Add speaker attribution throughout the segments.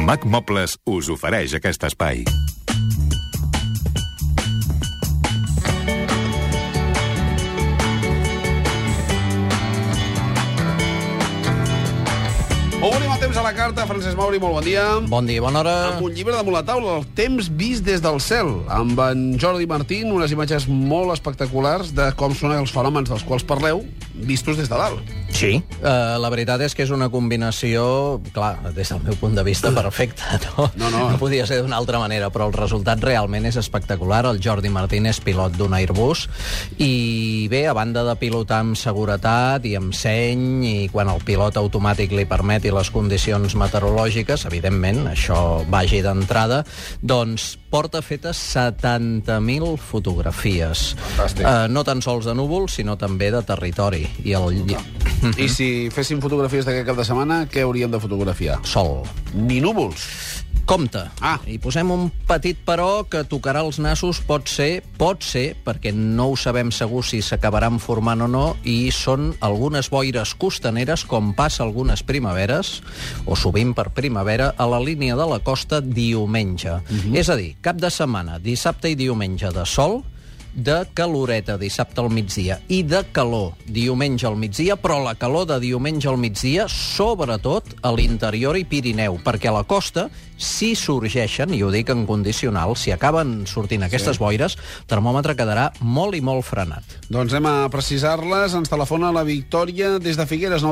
Speaker 1: Mac Mobles us ofereix aquest espai.
Speaker 2: On anem a temps a la carta, Francesc Mauri, molt bon dia.
Speaker 3: Bon dia, bona hora.
Speaker 2: Amb un llibre damunt la taula, El temps vist des del cel, amb en Jordi Martín, unes imatges molt espectaculars de com són els fenòmens dels quals parleu, vistos des de dalt.
Speaker 3: Sí. Uh, la veritat és que és una combinació, clar, des del meu punt de vista, perfecta. No,
Speaker 2: No, no.
Speaker 3: no podia ser d'una altra manera, però el resultat realment és espectacular. El Jordi Martín és pilot d'un Airbus i bé, a banda de pilotar amb seguretat i amb seny i quan el pilot automàtic li permeti les condicions meteorològiques, evidentment, això vagi d'entrada, doncs porta fetes 70.000 fotografies.
Speaker 2: Fantàstic.
Speaker 3: Eh, no tan sols de núvols, sinó també de territori. I el, lli-
Speaker 2: I si féssim fotografies d'aquest cap de setmana, què hauríem de fotografiar?
Speaker 3: sol.
Speaker 2: Ni núvols.
Speaker 3: Compte.
Speaker 2: Ah.
Speaker 3: I posem un petit però que tocarà els nassos, pot ser, pot ser, perquè no ho sabem segur si s'acabaran formant o no, i són algunes boires costaneres, com passa algunes primaveres, o sovint per primavera, a la línia de la costa diumenge. És a dir, cap de setmana, dissabte i diumenge de sol, de caloreta dissabte al migdia i de calor diumenge al migdia, però la calor de diumenge al migdia, sobretot a l'interior i Pirineu, perquè a la costa, si sorgeixen, i ho dic en condicional, si acaben sortint aquestes sí. boires, el termòmetre quedarà molt i molt frenat.
Speaker 2: Doncs anem a precisar-les. Ens telefona la Victòria des de Figueres,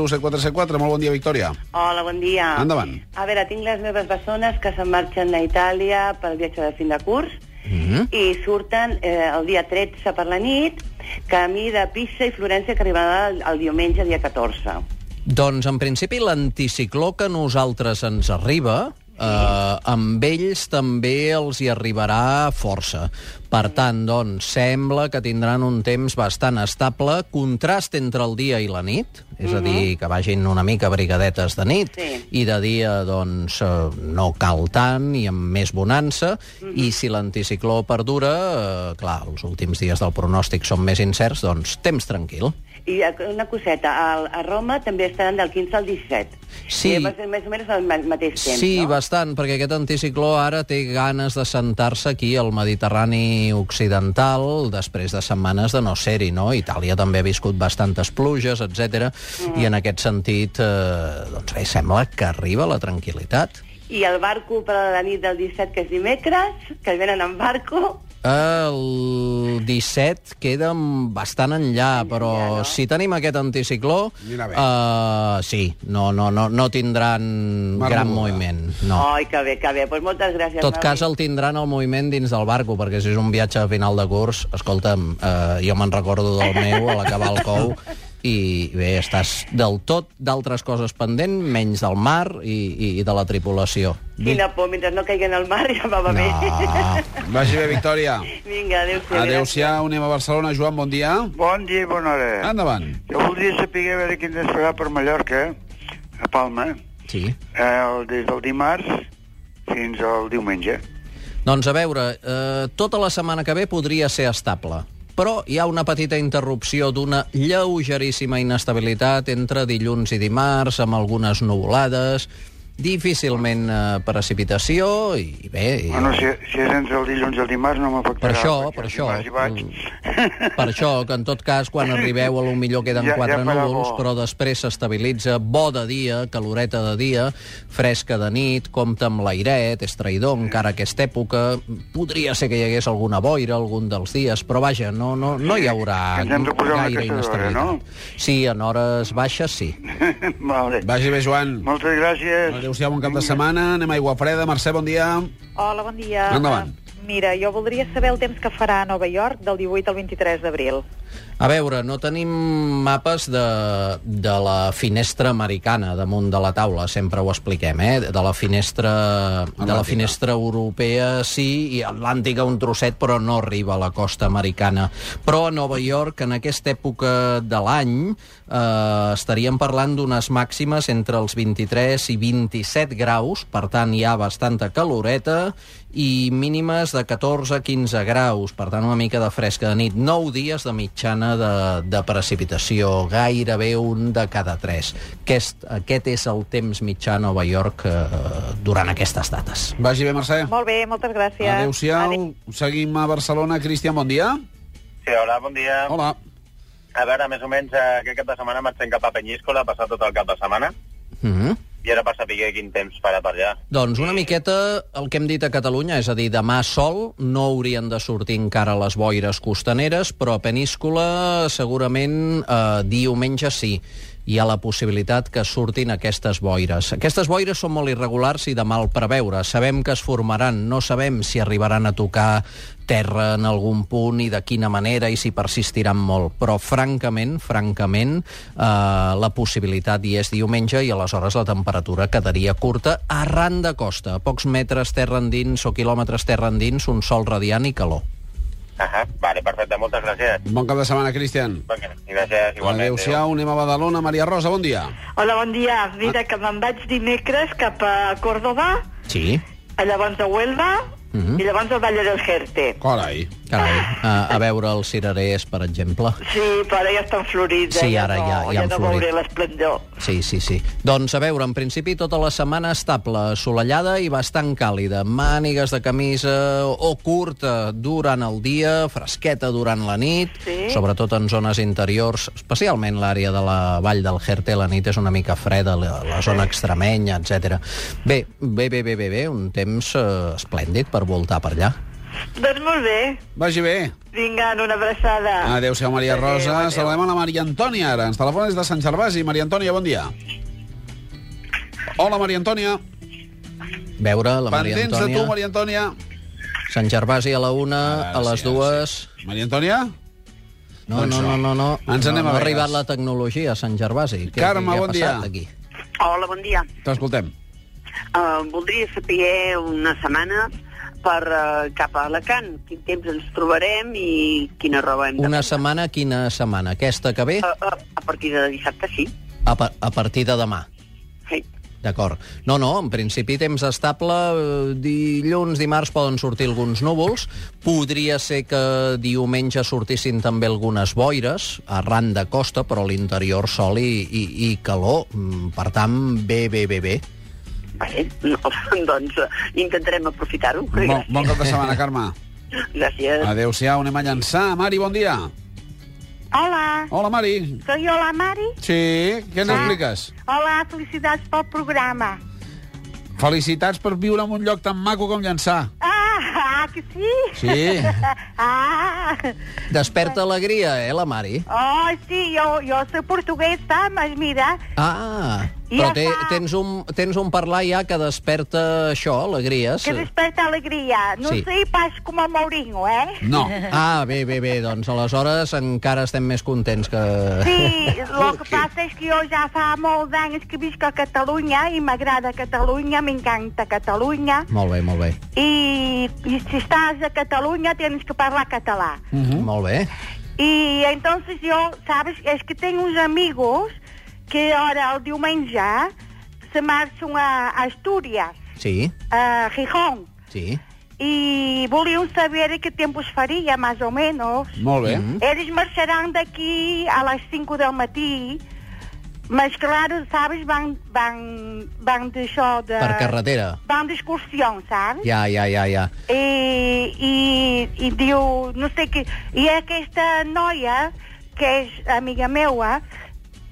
Speaker 2: 93207474. Molt bon dia, Victòria.
Speaker 4: Hola, bon dia.
Speaker 2: Endavant.
Speaker 4: A veure, tinc les meves bessones que se'n marxen a Itàlia pel viatge de fin de curs
Speaker 3: Mhm.
Speaker 4: mm -hmm. i surten eh, el dia 13 per la nit, camí de Pisa i Florència que arribarà el, el diumenge dia 14.
Speaker 3: Doncs, en principi, l'anticicló que a nosaltres ens arriba, eh, amb ells també els hi arribarà força. Per tant, doncs, sembla que tindran un temps bastant estable, contrast entre el dia i la nit, és a dir, que vagin una mica brigadetes de nit,
Speaker 4: Sí.
Speaker 3: i de dia, doncs, eh, no cal tant i amb més bonança, i si l'anticicló perdura, eh, clar, els últims dies del pronòstic són més incerts, doncs, temps tranquil.
Speaker 4: I eh, una coseta, a, a Roma també estaran del 15 al 17.
Speaker 3: Sí.
Speaker 4: Eh, va ser més o menys al ma- mateix temps,
Speaker 3: Sí,
Speaker 4: no?
Speaker 3: bastant, perquè aquest anticicló ara té ganes de sentar-se aquí al Mediterrani occidental després de setmanes de no ser-hi, no? Itàlia també ha viscut bastantes pluges, etc. Mm. I en aquest sentit, eh, doncs bé, sembla que arriba la tranquil·litat.
Speaker 4: I el barco per a la nit del 17, que és dimecres, que venen en barco,
Speaker 3: El 17 queda bastant enllà, però
Speaker 4: enllà, no?
Speaker 3: si tenim aquest anticicló...
Speaker 2: Mira bé.
Speaker 3: eh, sí, no, no, no, no tindran
Speaker 2: Mar
Speaker 3: gran
Speaker 2: moguda.
Speaker 3: moviment. No.
Speaker 4: Ai, que bé, que bé. Pues moltes gràcies.
Speaker 3: En tot
Speaker 4: Mauri.
Speaker 3: cas, el tindran el moviment dins del barco, perquè si és un viatge a final de curs, escolta'm, eh, jo me'n recordo del meu a l'acabar el cou, i bé, estàs del tot d'altres coses pendent, menys del mar i, i, i de la tripulació.
Speaker 4: Quina por, mentre no caiguen al mar ja va bé.
Speaker 3: No.
Speaker 2: Vagi bé, Victòria.
Speaker 4: Vinga, adéu-siau.
Speaker 2: Adéu-siau, anem a Barcelona. Joan, bon dia.
Speaker 5: Bon dia i bona hora.
Speaker 2: Endavant.
Speaker 5: Jo voldria saber a veure quin temps farà per Mallorca, a Palma,
Speaker 3: Sí.
Speaker 5: eh, el- des del dimarts fins al diumenge.
Speaker 3: Doncs a veure, eh, tota la setmana que ve podria ser estable però hi ha una petita interrupció d'una lleugeríssima inestabilitat entre dilluns i dimarts, amb algunes nuvolades, difícilment eh, precipitació i bé... I...
Speaker 5: Bueno, si, si és entre el dilluns i el dimarts no
Speaker 3: Per
Speaker 5: m'afectarà.
Speaker 3: això,
Speaker 5: perquè
Speaker 3: per
Speaker 5: el
Speaker 3: això.
Speaker 5: dimarts hi vaig.
Speaker 3: Mm. Per això, que en tot cas, quan arribeu, a lo millor queden
Speaker 5: Ja- ja
Speaker 3: quatre
Speaker 5: farà
Speaker 3: núvols,
Speaker 5: bo.
Speaker 3: però després s'estabilitza, bo de dia, caloreta de dia, fresca de nit, compta amb l'airet, és traïdor encara aquesta època, podria ser que hi hagués alguna boira algun dels dies, però vaja, no, no, no hi haurà
Speaker 5: Ens hem de posar una
Speaker 3: gaire
Speaker 5: caçadora,
Speaker 3: inestabilitat.
Speaker 5: no?
Speaker 3: Sí, en hores baixes sí. Mm.
Speaker 5: vale.
Speaker 2: Vagi bé, Joan.
Speaker 5: Moltes gràcies.
Speaker 2: Adéu-siau, bon cap de setmana. Anem a Aigua Freda. Mercè, bon dia.
Speaker 6: Hola, bon dia.
Speaker 2: Endavant.
Speaker 6: Eh, Mira, jo voldria saber el temps que farà a Nova York del 18 al 23 d'abril.
Speaker 3: A veure, no tenim mapes de, de la finestra americana damunt de la taula, sempre ho expliquem, eh? De la finestra, de la finestra europea, sí, i atlàntica un trosset, però no arriba a la costa americana. Però a Nova York, en aquesta època de l'any, eh, estaríem parlant d'unes màximes entre els 23 i 27 graus, per tant hi ha bastanta caloreta, i mínimes mínimes de 14 a 15 graus, per tant una mica de fresca de nit. 9 dies de mitjana de, de precipitació, gairebé un de cada 3. Aquest, aquest és el temps mitjà a Nova York eh, durant aquestes dates.
Speaker 2: Vagi bé, Mercè.
Speaker 3: Ah.
Speaker 6: Molt bé, moltes gràcies.
Speaker 2: Adéu-siau. Seguim a Barcelona. Cristian, bon dia.
Speaker 7: Sí, hola, bon dia.
Speaker 2: Hola.
Speaker 7: A veure, més o menys eh, aquest cap de setmana marxem cap a Penyíscola, a passar tot el cap de setmana,
Speaker 3: Mm -hmm.
Speaker 7: i era per saber quin temps farà per allà.
Speaker 3: Doncs una miqueta el que hem dit a Catalunya, és a dir, demà sol no haurien de sortir encara les boires costaneres, però a Peníscola segurament eh, diumenge sí hi ha la possibilitat que surtin aquestes boires. Aquestes boires són molt irregulars i de mal preveure. Sabem que es formaran, no sabem si arribaran a tocar terra en algun punt i de quina manera i si persistiran molt. Però, francament, francament, eh, la possibilitat hi és diumenge i aleshores la temperatura quedaria curta arran de costa, a pocs metres terra endins o quilòmetres terra endins, un sol radiant i calor.
Speaker 7: Ahà, vale, perfecte, moltes gràcies.
Speaker 2: Bon cap de setmana, Cristian.
Speaker 7: Vinga, i gràcies igualment.
Speaker 2: Adéu-siau. Anem a Badalona. Maria Rosa, bon dia.
Speaker 8: Hola, bon dia.
Speaker 3: Ah.
Speaker 8: Mira, que me'n vaig dimecres cap a Córdoba,
Speaker 3: Sí.
Speaker 8: a llavors a Huelva,
Speaker 3: Mhm.
Speaker 8: i llavors al Valle del Jerte.
Speaker 2: Carai.
Speaker 3: Carai, Eh, a, a veure els cirerers, per exemple.
Speaker 8: Sí, però ara ja estan florits. eh?
Speaker 3: Sí, ara
Speaker 8: no,
Speaker 3: ja- ja han
Speaker 8: ja no
Speaker 3: florit.
Speaker 8: veuré l'esplendor.
Speaker 3: Sí, sí, sí. Doncs a veure, en principi tota la setmana estable, assolellada i bastant càlida. Mànigues de camisa o curta durant el dia, fresqueta durant la nit,
Speaker 8: Sí.
Speaker 3: sobretot en zones interiors, especialment l'àrea de la vall del Jerte, la nit és una mica freda, la, la zona extremenya, etc. Bé, bé, bé, bé, bé, bé, un temps eh, esplèndid per voltar per allà.
Speaker 8: Doncs molt bé.
Speaker 2: Vagi bé.
Speaker 8: Vinga, una abraçada.
Speaker 4: Ah.
Speaker 2: Adéu-siau, Maria Rosa. Saludem a la Maria Antònia, ara. Ens telefona des de Sant Gervasi. Maria Antònia, bon dia. Hola, Maria Antònia.
Speaker 3: Veure la Maria
Speaker 2: Pendents de
Speaker 3: Antònia,
Speaker 2: tu, Maria Antònia.
Speaker 3: Sant Gervasi a la una,
Speaker 2: Ara
Speaker 3: a les
Speaker 2: sí, ara
Speaker 3: dues...
Speaker 2: Maria Antònia?
Speaker 3: No,
Speaker 2: Doncs
Speaker 3: no, no, no, no.
Speaker 2: Ens
Speaker 3: no,
Speaker 2: anem
Speaker 3: no
Speaker 2: a
Speaker 3: ha
Speaker 2: Vegas.
Speaker 3: arribat la tecnologia a Sant Gervasi. Què,
Speaker 2: Carme,
Speaker 3: què ha
Speaker 2: bon
Speaker 3: passat
Speaker 2: dia.
Speaker 3: Aquí?
Speaker 9: Hola, bon dia.
Speaker 2: T'escoltem.
Speaker 9: Uh, voldria saber una setmana per uh, cap a Alacant. Quin temps ens trobarem i quina roba hem de...
Speaker 3: Una setmana, quina setmana? Aquesta que ve?
Speaker 9: Uh, uh, a partir de dissabte, sí.
Speaker 3: A, pa a partir de demà.
Speaker 9: sí.
Speaker 3: D'acord. No, no, en principi temps estable, eh, dilluns, dimarts poden sortir alguns núvols, podria ser que diumenge sortissin també algunes boires, arran de costa, però a l'interior sol i, i, i calor, Mm, per tant, bé, bé, bé, bé.
Speaker 9: Vale. No, doncs uh, intentarem aprofitar-ho.
Speaker 2: Bon, bon cap de setmana, Carme.
Speaker 9: Gràcies.
Speaker 2: Ah. Adéu-siau, anem a llançar. Mari, bon dia.
Speaker 10: Hola,
Speaker 2: Hola, Mari.
Speaker 10: soy yo la Mari. Ah.
Speaker 2: Sí, què ens
Speaker 10: Sí.
Speaker 2: expliques?
Speaker 10: Hola, felicidades pel programa.
Speaker 2: Felicitats per viure en un lloc tan maco com llançar.
Speaker 10: Ah, ah que sí?
Speaker 2: Sí.
Speaker 10: Ah,
Speaker 3: Desperta alegria, eh, la Mari?
Speaker 10: oh, sí, yo, yo soy portuguesa, mas mira,
Speaker 3: Ah,
Speaker 10: I
Speaker 3: però
Speaker 10: ja
Speaker 3: te,
Speaker 10: fa-
Speaker 3: tens, un, tens un parlar ja que desperta això, alegries.
Speaker 10: que desperta alegria. No
Speaker 3: Sí.
Speaker 10: soy paz como a Mourinho, eh?
Speaker 2: No.
Speaker 3: Ah, bé, bé, bé, doncs aleshores encara estem més contents que...
Speaker 10: Sí, lo que passa és que jo ja fa molts anys que visc a Catalunya i m'agrada Catalunya, m'encanta Catalunya
Speaker 3: Molt bé, molt bé.
Speaker 10: i, i si estàs a Catalunya tens que parlar català.
Speaker 3: Uh
Speaker 2: Mhm.
Speaker 3: -huh. Molt bé.
Speaker 10: Y entonces yo, sabes, es que tengo uns amigos que ahora el diumenge se marxam a Astúries,
Speaker 3: Sí,
Speaker 10: a Gijón,
Speaker 3: sí.
Speaker 10: i volíem saber que tempos faria, más o menos.
Speaker 2: Molt bé.
Speaker 3: Mhm.
Speaker 10: Eles marxaran daqui a les 5 del matí, mas claro, sabes, van, van, van d'això de...
Speaker 3: Per carretera.
Speaker 10: Van d'excursió, saps?
Speaker 3: Ja, ja, ja, ja.
Speaker 10: i, i, i diu, no sé què... I aquesta noia, que és amiga meua,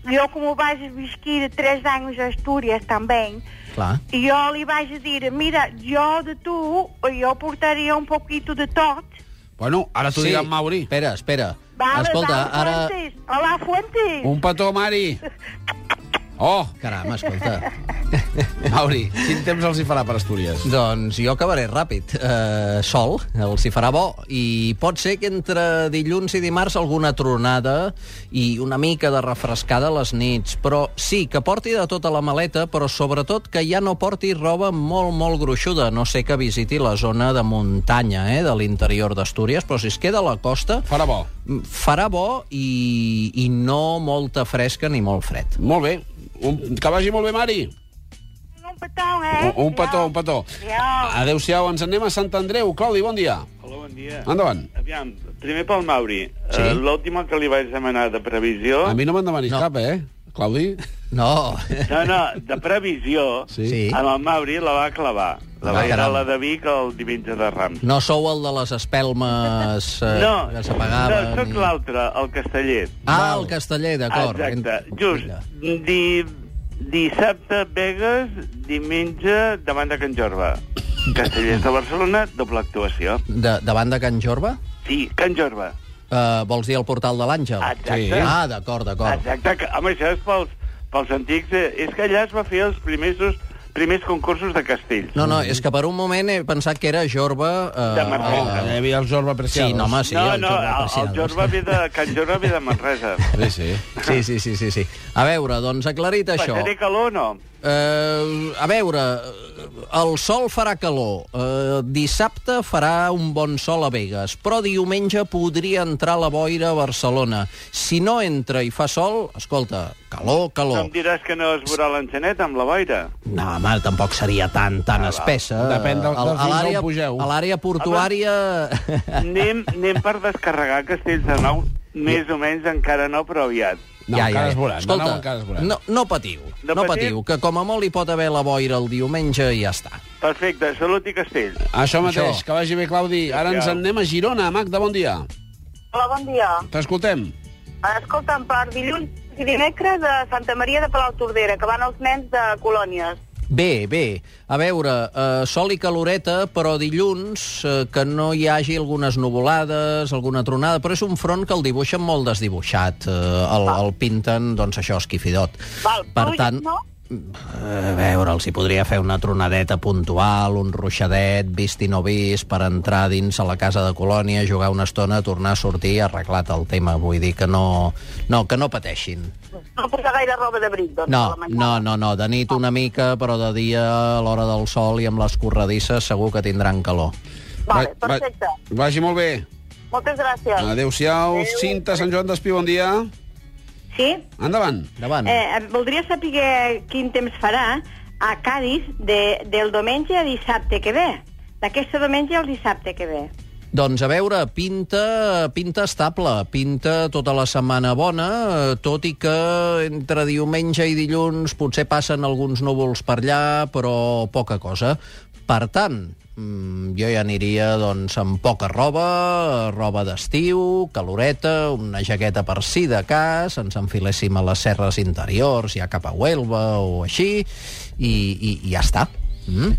Speaker 10: jo com ho vaig visquir 3 anys a Astúries també,
Speaker 3: Clar.
Speaker 10: i jo li vaig dir, mira, jo de tu, jo portaria un poquito de tot.
Speaker 2: Bueno, ara Ah, t'ho sí. dirà en Mauri.
Speaker 3: Espera, espera.
Speaker 10: Vale,
Speaker 3: escolta,
Speaker 10: vale,
Speaker 3: ara...
Speaker 10: Fuentes. Hola, Fuentes.
Speaker 2: Un petó, Mari. Oh,
Speaker 3: Caram, escolta.
Speaker 2: Mauri, quin temps els hi farà per Astúries?
Speaker 3: doncs jo acabaré ràpid. Uh, sol, els hi farà bo. I pot ser que entre dilluns i dimarts alguna tronada i una mica de refrescada a les nits. Però sí, que porti de tota la maleta, però sobretot que ja no porti roba molt, molt gruixuda. No sé que visiti la zona de muntanya, eh, de l'interior d'Astúries, però si es queda a la costa, mm,
Speaker 2: Farà bo.
Speaker 3: farà bo i, i no molta fresca ni molt fred.
Speaker 2: Molt bé. Un... Que vagi molt bé, Mari.
Speaker 10: Un eh? petão, é?
Speaker 2: Un, un petó, un petó. Adéu-siau, ens anem a Sant Andreu. Claudi, bon dia.
Speaker 11: Hola, bon dia.
Speaker 2: Endavant.
Speaker 3: Ah.
Speaker 11: Aviam, primer pel Mauri. Sí? Uh, L'última que li vaig demanar de previsió...
Speaker 2: A mi no me'n demanis no. cap, eh, Claudi?
Speaker 3: No.
Speaker 11: No, no, de previsió, sí. amb el Mauri la va clavar. La
Speaker 3: Ah,
Speaker 11: va ah,
Speaker 3: caram.
Speaker 11: la de Vic el diumenge de Rams.
Speaker 3: No sou el de les espelmes eh,
Speaker 11: No,
Speaker 3: que
Speaker 11: no,
Speaker 3: s'apagaven?
Speaker 11: sóc l'altre, el casteller.
Speaker 3: Ah, el casteller, d'acord.
Speaker 11: Exacte. Just, di, dissabte Vegas, diumenge davant de Can Jorba. Castellers de Barcelona, doble actuació.
Speaker 3: De, davant de Can Jorba?
Speaker 11: Sí, Can Jorba.
Speaker 3: Uh, vols dir el portal de l'Àngel?
Speaker 11: Exacte.
Speaker 3: Ah, d'acord, d'acord.
Speaker 11: Exacte, que, home, això és pels, pels antics. eh, És que allà es va fer els primers, dos- primers concursos de castells.
Speaker 3: No, no, és que per un moment he pensat que era Jorba... Uh,
Speaker 11: De Manresa.
Speaker 2: Ah, Hi havia el Jorba Preciados.
Speaker 3: Sí, no, home, sí,
Speaker 11: no,
Speaker 3: el
Speaker 11: no,
Speaker 3: Jorba
Speaker 11: el, el
Speaker 3: Preciados.
Speaker 11: Jorba ve de, Can Jorba ve de Manresa.
Speaker 2: Sí, sí.
Speaker 3: Sí, sí, sí, sí, sí. A veure, doncs aclarit això.
Speaker 11: Passaré calor o no?
Speaker 3: Uh, a veure, el sol farà calor, uh, dissabte farà un bon sol a Vegas, però diumenge podria entrar la boira a Barcelona. Si no entra i fa sol, escolta, calor,
Speaker 11: No
Speaker 3: calor.
Speaker 11: em diràs que no es veurà l'enceneta amb la boira?
Speaker 3: No, home, tampoc seria tan tan espessa.
Speaker 2: Ah, Depèn del-
Speaker 3: A-
Speaker 2: dels
Speaker 3: a
Speaker 2: dins
Speaker 3: l'àrea-
Speaker 2: on pugeu.
Speaker 3: A l'àrea portuària...
Speaker 11: Anem, anem per descarregar Castells de Nou, més o menys encara no, però aviat.
Speaker 2: No, ja, encara ja, es veuran.
Speaker 3: Escolta,
Speaker 2: no, no, encara es veuran.
Speaker 3: no, no patiu, no,
Speaker 11: No
Speaker 3: no
Speaker 11: patim?
Speaker 3: patiu, que com a molt hi pot haver la boira el diumenge i ja està.
Speaker 11: Perfecte, salut i Castells.
Speaker 2: Això mateix,
Speaker 3: Això.
Speaker 2: que vagi bé, Claudi. Ara ens
Speaker 11: Adéu.
Speaker 2: en anem a Girona. Magda, bon dia.
Speaker 9: Hola, bon dia.
Speaker 2: T'escoltem.
Speaker 9: Escolta'm, per dilluns i dimecres a Santa Maria de Palau Tordera, que van els nens de colònies.
Speaker 3: Bé, bé. A veure, eh, sol i caloreta, però dilluns eh, que no hi hagi algunes nuvolades, alguna tronada, però és un front que el dibuixen molt desdibuixat. Eh, el, el pinten, doncs això, esquifidot.
Speaker 9: Val,
Speaker 3: per
Speaker 9: pluja,
Speaker 3: tant,
Speaker 9: no?
Speaker 3: eh, a veure, els hi podria fer una tronadeta puntual, un ruixadet, vist i no vist, per entrar dins a la casa de colònia, jugar una estona, tornar a sortir, arreglat el tema. Vull dir que no, no, que no pateixin.
Speaker 9: No posar gaire roba d'abric, doncs.
Speaker 3: No,
Speaker 9: a la mañana.
Speaker 3: no, no, no, de nit una mica, però de dia, a l'hora del sol i amb les corredisses, segur que tindran calor.
Speaker 9: Vale,
Speaker 2: Va- va-
Speaker 9: perfecte.
Speaker 2: Vagi molt bé.
Speaker 9: Moltes gràcies.
Speaker 2: Adéu-siau. Cinta, Sant Joan d'Espí, bon dia.
Speaker 8: Sí?
Speaker 2: Endavant.
Speaker 3: Endavant. Eh.
Speaker 8: Eh, voldria saber quin temps farà a Cádiz de, del diumenge a dissabte que ve. D'aquesta diumenge al dissabte que ve.
Speaker 3: Doncs a veure, pinta, pinta estable, pinta tota la setmana bona, eh, tot i que entre diumenge i dilluns potser passen alguns núvols per allà, però poca cosa. Per tant, mm, jo ja aniria doncs, amb poca roba, roba d'estiu, caloreta, una jaqueta per si de cas, ens enfiléssim a les serres interiors, ja cap a Huelva o així, i, i, i ja està. Mm?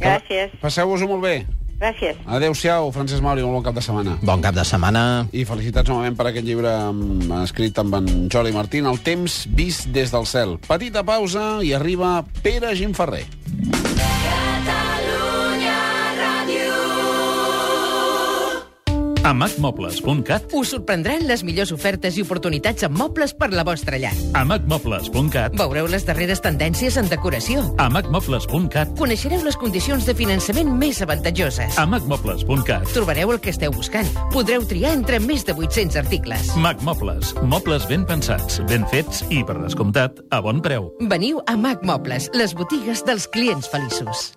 Speaker 8: Gràcies,
Speaker 2: Passeu-vos-ho molt bé.
Speaker 8: gràcies.
Speaker 2: Adéu-siau, Francesc Mauri, molt bon cap de setmana.
Speaker 3: Bon cap de setmana.
Speaker 2: I felicitats novament per aquest llibre mm, escrit amb en Jordi Martín, El temps vist des del cel. Petita pausa i arriba Pere Gimferrer.
Speaker 12: A macmobles.cat,
Speaker 13: Us sorprendran les millors ofertes i oportunitats en mobles per la vostra llar.
Speaker 12: a macmobles.cat,
Speaker 13: Veureu les darreres tendències en decoració.
Speaker 12: a macmobles.cat,
Speaker 13: Coneixereu les condicions de finançament més avantatjoses.
Speaker 12: a macmobles.cat.
Speaker 13: Trobareu el que esteu buscant. Podreu triar entre més de 800 articles.
Speaker 12: Macmobles, mobles ben pensats, ben fets i, per descomptat, a bon preu.
Speaker 13: Veniu a Mac Mobles, les botigues dels clients feliços.